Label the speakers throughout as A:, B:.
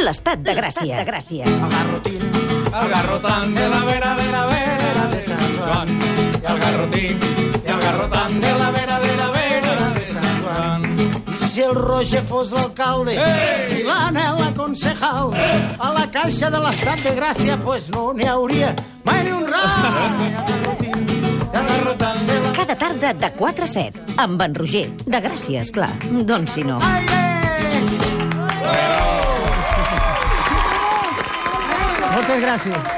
A: L'estat de gràcia.
B: De Gràcia.
C: El garrotín, el garrotant de la vera, vera, vera de Sant Joan. I el garrotín, i el garrotant de la vera, vera, vera de Sant Joan.
D: I si el Roger fos l'alcalde
C: Ei!
D: i l'Anna la concejal, a la caixa de l'estat de Gràcia, pues no n'hi hauria mai ni un
C: I el
D: ram.
C: garrotant de la...
A: Cada tarda de 4 a 7, amb en Roger. De gràcia, esclar. Doncs si no.
D: Aire! Moltes gràcies.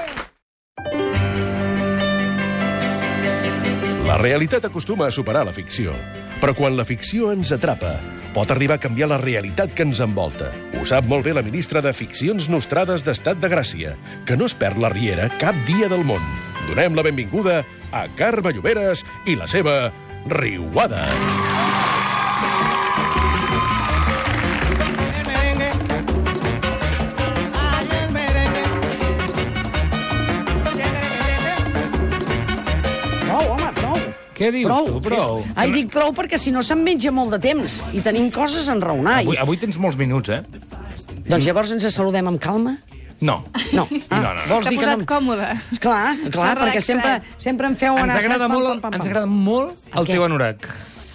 E: La realitat acostuma a superar la ficció, però quan la ficció ens atrapa, pot arribar a canviar la realitat que ens envolta. Ho sap molt bé la ministra de Ficcions Nostrades d'Estat de Gràcia, que no es perd la riera cap dia del món. Donem la benvinguda a Carme Lloberes i la seva Riuada.
C: El merengue. Ay, el merengue.
B: Prou, home, prou.
F: Què dius
B: prou.
F: tu? Prou.
B: Ai, dic prou perquè si no se'n menja molt de temps i tenim coses a enraonar.
F: Avui,
B: Avui,
F: avui tens molts minuts, eh?
B: Doncs llavors ens saludem amb calma?
F: No.
B: No.
F: No, no, no.
B: Vols
G: T'ha
B: dir que
G: posat
B: no...
G: còmode.
B: Clar, clar,
G: S'ha
B: perquè
G: relaxat.
B: sempre, sempre em feu anar...
F: Ens agrada,
B: pam,
F: molt,
B: pam, pam,
F: ens
B: pam.
F: agrada molt el
B: què?
F: teu anorac.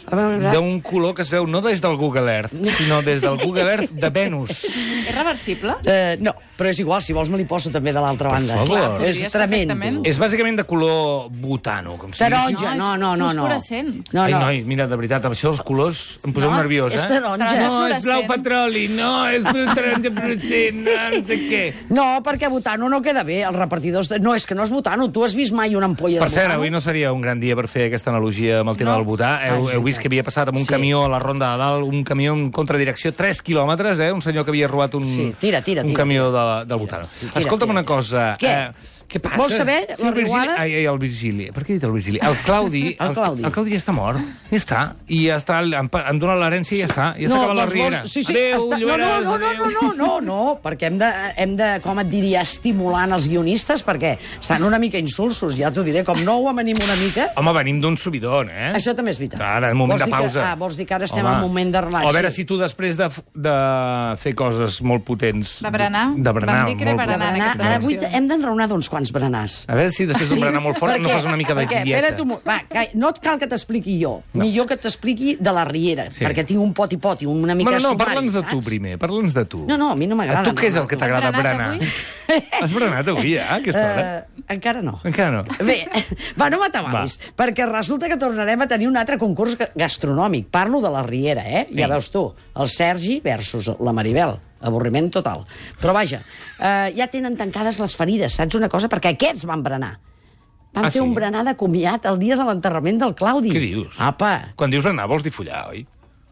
B: A veure,
F: D'un color que es veu no des del Google Earth, sinó des del Google Earth de Venus.
G: És reversible?
B: Eh, no, però és igual, si vols me l'hi poso també de l'altra banda.
F: favor. Clar,
B: és
G: podries
B: tremendo.
G: perfectament.
F: És bàsicament de color botano, com si diguéssim.
B: Taronja, no,
G: No, és
B: no, no. no.
G: fosforescent.
B: No,
F: Ai,
B: no.
F: noi, mira, de veritat, amb això dels colors em poseu
B: No,
F: nerviós, eh?
B: és taronja.
F: No, és blau
G: Fluorescent.
F: petroli, no, és taronja fluorescent, no, no sé què.
B: No, perquè botano no queda bé, els repartidors... De... No, és que no és botano, tu has vist mai una ampolla
F: Per
B: de
F: cert,
B: botano?
F: avui no seria un gran dia per fer aquesta analogia amb el tema
G: No.
F: del votar. Heu,
B: Ah, és
F: heu
B: veritat.
F: vist que havia passat amb un
B: Sí.
F: camió a la ronda de dalt, un camió en contradirecció, 3 quilòmetres, eh? un senyor que havia robat un,
B: Sí, tira, tira,
F: un
B: tira,
F: camió de, del votar.
B: tira,
F: Escolta'm
B: tira,
F: una
B: tira.
F: cosa.
B: Què?
F: Eh, què passa?
B: Vols saber la
F: el Virgili,
B: riuada?
F: ai, ai, el Virgili. Per què he dit el Virgili? El Claudi.
B: El Claudi.
F: El, el Claudi ja està mort. Ja està. I ja està, em, pa- em dona l'herència i ja està. Ja s'ha acabat la
B: doncs
F: riera.
B: vols- Sí, sí,
F: adéu,
B: està... no, no,
F: Lloberes,
B: no, no,
F: adéu.
B: no, no, no, no, perquè hem de, hem de, com et diria, estimulant els guionistes, perquè estan una mica insulsos, ja t'ho diré, com no ho amanim una mica...
F: Home, venim d'un subidon, eh?
B: Això també és veritat.
F: Ara, Eh? moment
B: vols
F: de
B: dir que-
F: pausa.
B: ah, vols dir que ara estem en moment de relax.
F: A veure si tu després de, f- de fer coses molt potents...
G: De berenar.
F: De berenar.
G: Vam dir que era
F: molt
G: berenar
F: potent.
G: en
B: Berenar,
G: aquesta
B: ara avui
G: secció.
B: hem d'enraonar d'uns quants berenars.
F: A veure si després d'un berenar molt fort no fas una mica de
B: perquè,
F: dieta.
B: espera't un moment. va, ca- no et cal que t'expliqui jo,
F: No.
B: ni jo que t'expliqui de la Riera,
F: Sí.
B: perquè tinc un pot i pot i una mica
F: Bueno, no,
B: sumari,
F: parla'ns de tu
B: saps?
F: primer, parla'ns de tu.
B: No, no, a mi no m'agrada,
F: A tu què és
B: no,
F: el que
B: no.
F: t'agrada
G: Has berenat
F: berenar?
G: avui?
F: Has berenat avui, ja, a aquesta hora?
B: Eh, encara no.
F: Encara no.
B: Bé, va, no m'atabalis, perquè resulta que tornarem a tenir un altre concurs ga- gastronòmic. Parlo de la Riera, eh? Ja
F: Sí.
B: veus tu, el Sergi versus la Maribel. Avorriment total. Però vaja, eh, ja tenen tancades les ferides, saps una cosa? Perquè aquests van berenar. Van
F: Ah,
B: fer
F: sí?
B: un berenar de comiat el dia de l'enterrament del Claudi.
F: Què dius?
B: Apa,
F: Quan dius berenar vols dir follar, oi?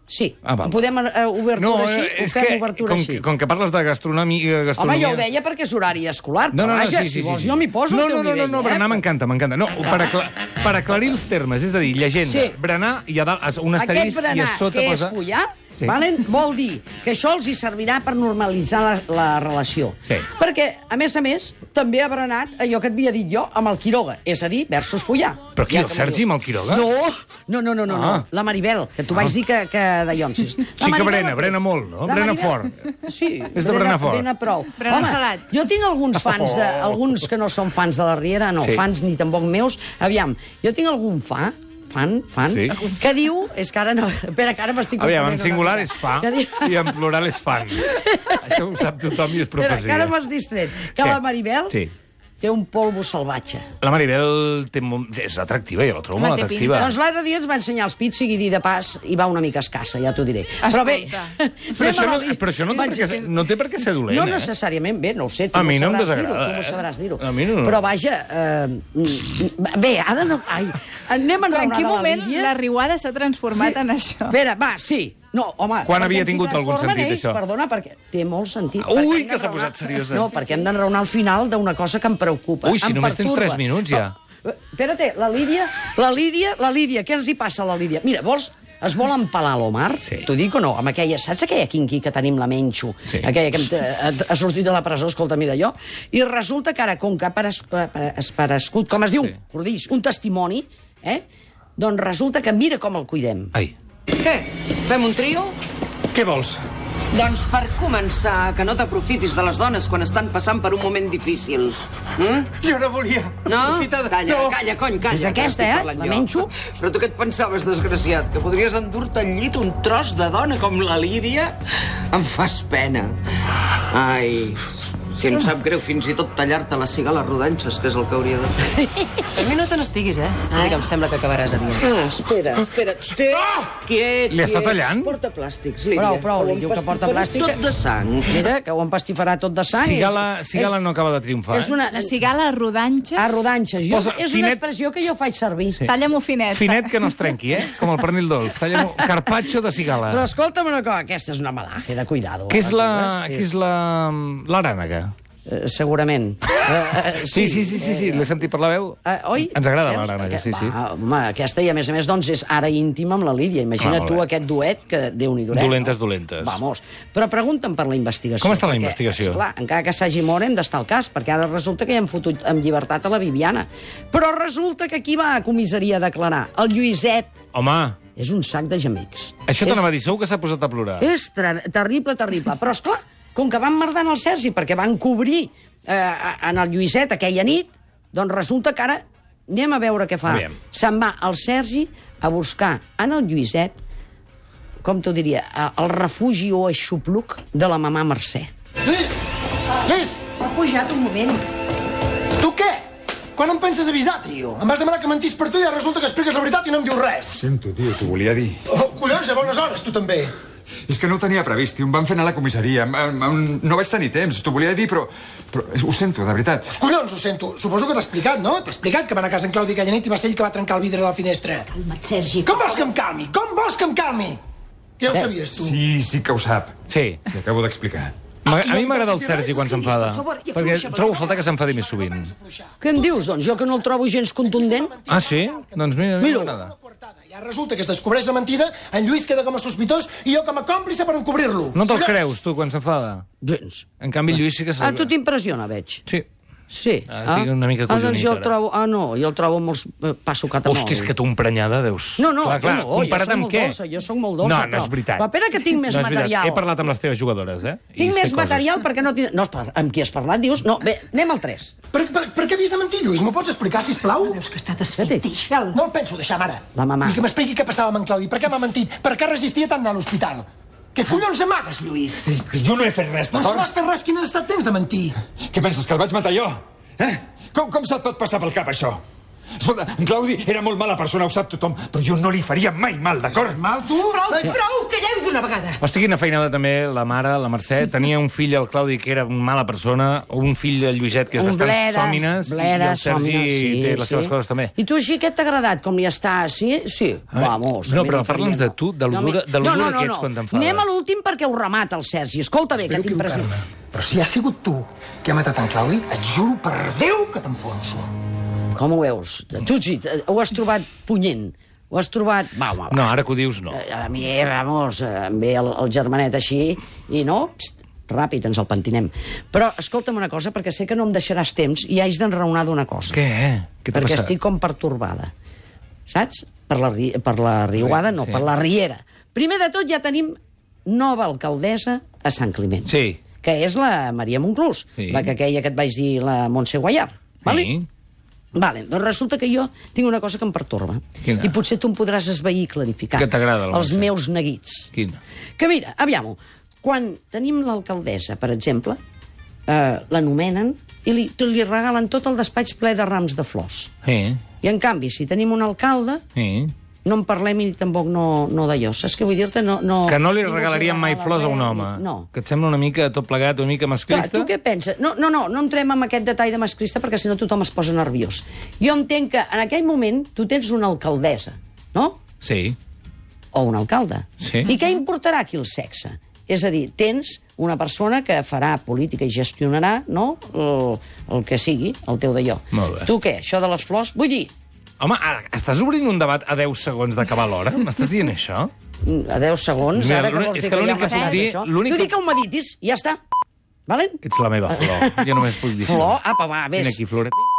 B: sí.
F: Ah, val.
B: Podem eh, obertura així,
F: eh,
B: ho fem obertura
F: com,
B: així.
F: com que parles de gastronomia...
B: Home,
F: gastronomia...
B: jo ho deia perquè és horari escolar,
F: No,
B: però
F: no, no,
B: vaja,
F: sí, sí,
B: si vols
F: sí, sí.
B: jo m'hi poso
F: no,
B: al teu
F: no, no,
B: nivell.
F: No, no,
B: eh?
F: berenar m'encanta, m'encanta. No, per, acla per aclarir els termes, és a dir, llegenda,
B: Sí.
F: berenar i a dalt un asterisc
B: Aquest berenar,
F: i a sota
B: que
F: posa...
B: és follar,
F: Sí.
B: sí. valen, vol dir que això els hi servirà per normalitzar la, la relació.
F: Sí.
B: Perquè, a més a més, també ha berenat allò que et havia dit jo amb el Quiroga, és a dir, versus follar.
F: Però qui, el
B: que
F: Sergi
B: m'ho
F: amb el Quiroga?
B: No, no, no, no, no,
F: Ah.
B: no. la Maribel, que tu vaig dir que, que dallonsis.
F: que brena, brena molt, no? Brena fort.
B: Sí,
F: És de brenar fort. Oh.
B: Brena prou.
G: Brena
B: Home,
G: salat.
B: jo tinc alguns fans, de, alguns que no són fans de la Riera, no,
F: Sí.
B: sí. fans ni tampoc meus. Aviam, jo tinc algun fa, fan, fan,
F: Sí.
B: sí. que diu... És que ara no... Espera, que ara m'estic...
F: Aviam,
B: confonent
F: en
B: una
F: singular
B: mica.
F: és fa
B: Que diu-
F: i en plural és fan. Això ho sap tothom i
B: Espera,
F: és
B: que
F: profecia.
B: ara m'has distret. Que
F: Què?
B: la Maribel
F: Sí.
B: té un polvo salvatge.
F: La Maribel té, mo- és atractiva, jo la trobo
G: Home,
F: molt
G: té
F: atractiva.
B: Doncs l'altre dia ens va ensenyar els pits, sigui dir de pas, i va una mica escassa, ja t'ho diré. Però bé...
G: Escolta.
F: Però això,
B: anem a
F: no,
B: la-
F: però això no, té per què, ser- no té per què ser dolent,
B: No
F: eh?
B: necessàriament, bé, no ho sé, tu
F: A mi no em
B: sabràs dir-ho,
F: desagrada,
B: tu no
F: eh?
B: sabràs dir-ho.
F: A mi no.
B: Però vaja, eh, mm, mm, bé, ara no... Ai, anem a
G: Però
B: enraonar
G: en quin
B: de la
G: moment
B: Lídia.
G: la riuada s'ha transformat en això?
B: Espera, va, sí. No, home...
F: Quan
B: perquè
F: havia
B: si
F: tingut algun
B: transformen
F: sentit,
B: ells,
F: això?
B: Perdona, perquè té molt sentit.
F: Ui,
B: perquè hem
F: que s'ha
B: d'enraonar-
F: posat seriosa.
B: No,
F: Sí,
B: perquè hem d'enraonar al final d'una cosa que em preocupa.
F: Ui, si
B: em
F: només tens
B: pertorba.
F: tres minuts, ja.
B: Però, eh, Espérate, la Lídia, la Lídia, la Lídia, què els hi passa a la Lídia? Mira, vols... Es vol empalar l'Omar?
F: Sí.
B: T'ho dic o no? Amb aquella, saps aquella quinqui que tenim la Menxo?
F: Sí.
B: Aquella que em- eh, ha sortit de la presó, escolta-mi d'allò. I resulta que ara, com que ha pares- eh, pare- esparescut, com es diu,
F: Sí.
B: sí. cordills, un testimoni, eh? doncs resulta que mira com el cuidem.
F: Ai,
H: Què? Fem un trio?
C: Què vols?
H: Doncs per començar, que no t'aprofitis de les dones quan estan passant per un moment difícil. Mm?
C: Jo no volia.
H: No?
C: Aprofitar de-
H: Calla,
C: No.
H: calla, cony, calla.
B: És
H: que
B: aquesta,
H: estic
B: eh?
H: parlant
B: La
H: jo.
B: menjo.
H: Però tu què et pensaves, desgraciat? Que podries endur-te al llit un tros de dona com la Lídia? Em fas pena. Ai, si em sap greu fins i tot tallar-te les cigales rodanxes, que és el que hauria de fer.
I: A mi no te n'estiguis, eh? Tot i que em sembla que acabaràs aviat.
H: Ah, espera, espera. Té,
B: Ah!
H: quiet,
F: Li està
H: quiet.
F: tallant?
H: Porta plàstics, Lídia.
B: Prou, prou,
H: Que ho
B: li diu que porta
H: empastifaré
B: plàstic.
H: Tot de sang.
B: Mira, que ho empastifarà tot de sang.
F: Cigala,
B: És-
F: Cigala
B: és-
F: no acaba de triomfar. eh?
B: És una...
G: La cigala rodanxes...
B: A rodanxes. Jo,
F: Posa
B: és una
F: finet-
B: expressió que jo faig servir.
F: Sí.
G: Talla-m'ho
F: eh?
G: finet.
F: Finet que no es trenqui, eh? Com el pernil dolç. Talla Carpaccio de cigala.
B: Però escolta'm una cosa, aquesta és una malaje de cuidado.
F: Què és la...
B: Eh,
F: Què és la... L'arànega?
B: eh, Segurament. Eh, eh,
F: Sí, sí, sí, sí, sí. l'he sentit per la veu.
B: Eh, oi?
F: Ens agrada
B: Veus?
F: l'arànega,
B: Aquest-
F: sí, sí.
B: Va, home, aquesta, i a més a més, doncs, és ara íntima amb la Lídia.
F: Ah,
B: Imagina
F: molt
B: tu
F: bé.
B: aquest duet que déu nhi duret.
F: Dolentes, dolentes.
B: Vamos. Però pregunta'm per la investigació.
F: Com està la
B: perquè,
F: investigació?
B: Esclar, encara que s'hagi mort hem d'estar al cas, perquè ara resulta que ja hem fotut amb llibertat a la Viviana. Però resulta que qui va a comissaria a declarar? El Lluïset.
F: Home,
B: És un sac de gemecs. És-
F: això
B: Eh?
F: t'anava a dir, segur que s'ha posat a plorar.
B: és ter- terrible, terrible. Però, és clar, com que van merdant el Sergi perquè van cobrir eh, a- en el Lluïset aquella nit, doncs resulta que ara anem a veure què fa.
F: Aviam.
B: Se'n va el Sergi a buscar en el Lluïset, com t'ho diria, a- el refugi o aixopluc de la mamà Mercè.
D: Lluís! Lluís!
I: Ha pujat un moment.
D: Tu què? Quan em penses avisar, tio? Em vas demanar que mentís per tu i ara resulta que expliques la veritat i no em dius res.
J: Sento, tio, t'ho volia dir.
D: Oh, collons, a bones hores, tu també.
J: És que no ho tenia previst, tio. Em van fer anar a la comissaria. Em- em- em- No vaig tenir temps. T'ho volia dir, però... però ho sento, de veritat.
D: Collons, ho sento. Suposo que t'ha explicat, no? T'ha explicat que va anar a casa en Claudi aquella nit i va ser ell que va trencar el vidre de la finestra.
I: Calma't, Sergi.
D: Com vols que em calmi? Com vols que em calmi? Ja ho sabies, tu.
J: Sí, sí que ho sap.
F: Sí.
J: Li acabo d'explicar.
F: M'ag-
B: Ah,
F: A mi m'agrada el Sergi quan s'enfada. Perquè trobo falta que s'enfadi més sovint.
B: Què em dius, doncs? Jo que no el trobo gens contundent.
F: Ah, sí? Doncs mira,
B: Mira-ho.
F: mira, nada.
D: Coartada. I ara resulta que es descobreix la mentida, en Lluís queda com a sospitós i jo com a còmplice per encobrir-lo.
F: No te'l
D: Collons!
F: creus, tu, quan s'enfada?
B: Gens.
F: En canvi, el Lluís sí que
B: A
F: se'l...
B: Ah, tu t'impressiona, veig.
F: Sí.
B: Sí.
F: Ah, estic una mica
B: ah, doncs
F: acollonit,
B: jo el
F: ara.
B: trobo... Ah, no, jo el trobo molt... eh, Passo catamol.
F: Hosti, és que tu emprenyada, deus...
B: No, no,
F: clar,
B: tu
F: clar,
B: no, jo
F: comparat
B: sóc
F: amb
B: molt
F: què?
B: dolça, jo sóc molt dolça,
F: No, no és
B: però-
F: veritat.
B: Però espera que tinc més
F: no és veritat.
B: material.
F: He parlat amb les teves jugadores, eh? I
B: Tinc
F: sé
B: més
F: coses.
B: material perquè no tinc... No, espera, amb qui has parlat, dius? No, bé, anem al 3.
D: Per, per, per què havies de mentir, Lluís? M'ho pots explicar, sisplau?
I: Ah, Veus que està desfet, deixa'l.
D: No el penso deixar, mare.
B: La mamà.
D: Ni que m'expliqui què passava amb en Claudi. Per què m'ha mentit? Per què resistia tant anar a l'hospital? Què
I: Ah.
D: collons amagues, Lluís?
J: Sí, que jo no he fet res,
D: Doncs no has fet res, quin has estat temps de mentir?
J: Què penses, que el vaig matar jo? Eh? Com, com se't pot passar pel cap, això? Escolta, en Claudi era molt mala persona, ho sap tothom, però jo no li faria mai mal, d'acord?
D: Mal, tu?
I: Prou, prou, calleu d'una vegada.
F: Hosti, quina feinada també, la mare, la Mercè, tenia un fill, el Claudi, que era una mala persona, un fill, el Lluiset, que és
B: Un
F: bastant
B: bleda,
F: sòmines,
B: bleda,
F: i el Sergi
B: sòmines, sí,
F: té les
B: sí.
F: seves coses també.
B: I tu així, què t'ha agradat? Com li està? Sí? Sí.
F: Ah,
B: Vamos.
F: no,
B: mira,
F: però parla'ns de tu, de lo dura-
B: mi-
F: de lo
B: no,
F: dura
B: no,
F: que
B: no,
F: ets quan
B: no.
F: t'enfades.
B: Anem a l'últim perquè ho remata el Sergi. Escolta bé,
D: Espero
B: que t'impressiona.
D: equivocar-me, però si ha sigut tu que ha matat en Claudi, et juro per Déu que t'enfonso.
B: Com ho veus? Tu, sí, eh, ho has trobat punyent. Ho has trobat... Va, home, va.
F: No, ara que ho dius, no.
B: Eh, A mi, eh, vamos, eh, em ve el, el germanet així i no, pst, ràpid, ens el pentinem. Però escolta'm una cosa, perquè sé que no em deixaràs temps i haig d'enraonar d'una cosa.
F: Què? eh? Què t'ha
B: perquè
F: passat?
B: estic com pertorbada. Saps? Per la, ri- per la riuada, no,
F: sí.
B: sí. per la riera. Primer de tot ja tenim nova alcaldessa a Sant Climent.
F: Sí.
B: Que és la Maria Monclús,
F: Sí.
B: la que aquella que et vaig dir, la Montse Guaiar. Vale?
F: Sí.
B: Vale, doncs resulta que jo tinc una cosa que em pertorba.
F: Quina?
B: I potser tu em podràs esveir i clarificar.
F: Què t'agrada, la
B: Els
F: Montse?
B: meus neguits.
F: Quina?
B: Que mira, aviam quan tenim l'alcaldessa, per exemple, eh, l'anomenen i li, li regalen tot el despatx ple de rams de flors.
F: Sí,
B: I en canvi, si tenim un alcalde,
F: sí.
B: no en parlem i tampoc no, no d'allò. Saps què vull dir-te? No, no,
F: Que no li
B: us
F: regalarien mai
B: regala
F: flors a un
B: res,
F: home.
B: No.
F: Que et sembla una mica tot plegat, una mica
B: Clar,
F: masclista?
B: tu què penses? No, no, no, no entrem en aquest detall de masclista perquè si no tothom es posa nerviós. Jo entenc que en aquell moment tu tens una alcaldessa, no?
F: Sí.
B: O un alcalde.
F: Sí.
B: I què importarà aquí el sexe? És a dir, tens una persona que farà política i gestionarà, no?, el, el que sigui, el teu d'allò.
F: Molt bé.
B: Tu què, això de les flors? Vull dir,
F: Home, ara, estàs obrint un debat a 10 segons d'acabar l'hora? M'estàs dient això?
B: mm, a 10 segons,
F: Mira,
B: ara que vols
F: l'únic- és
B: dir
F: que
B: que, ja
F: l'únic que puc
B: m'has dit
F: dir-
B: això.
F: l'únic
B: Tu
F: que-
B: dic que ho meditis, ja està. Valent?
F: Ets la meva flor. Jo només puc dir això.
B: Flor, apa, va, vés.
F: Vine aquí, floret.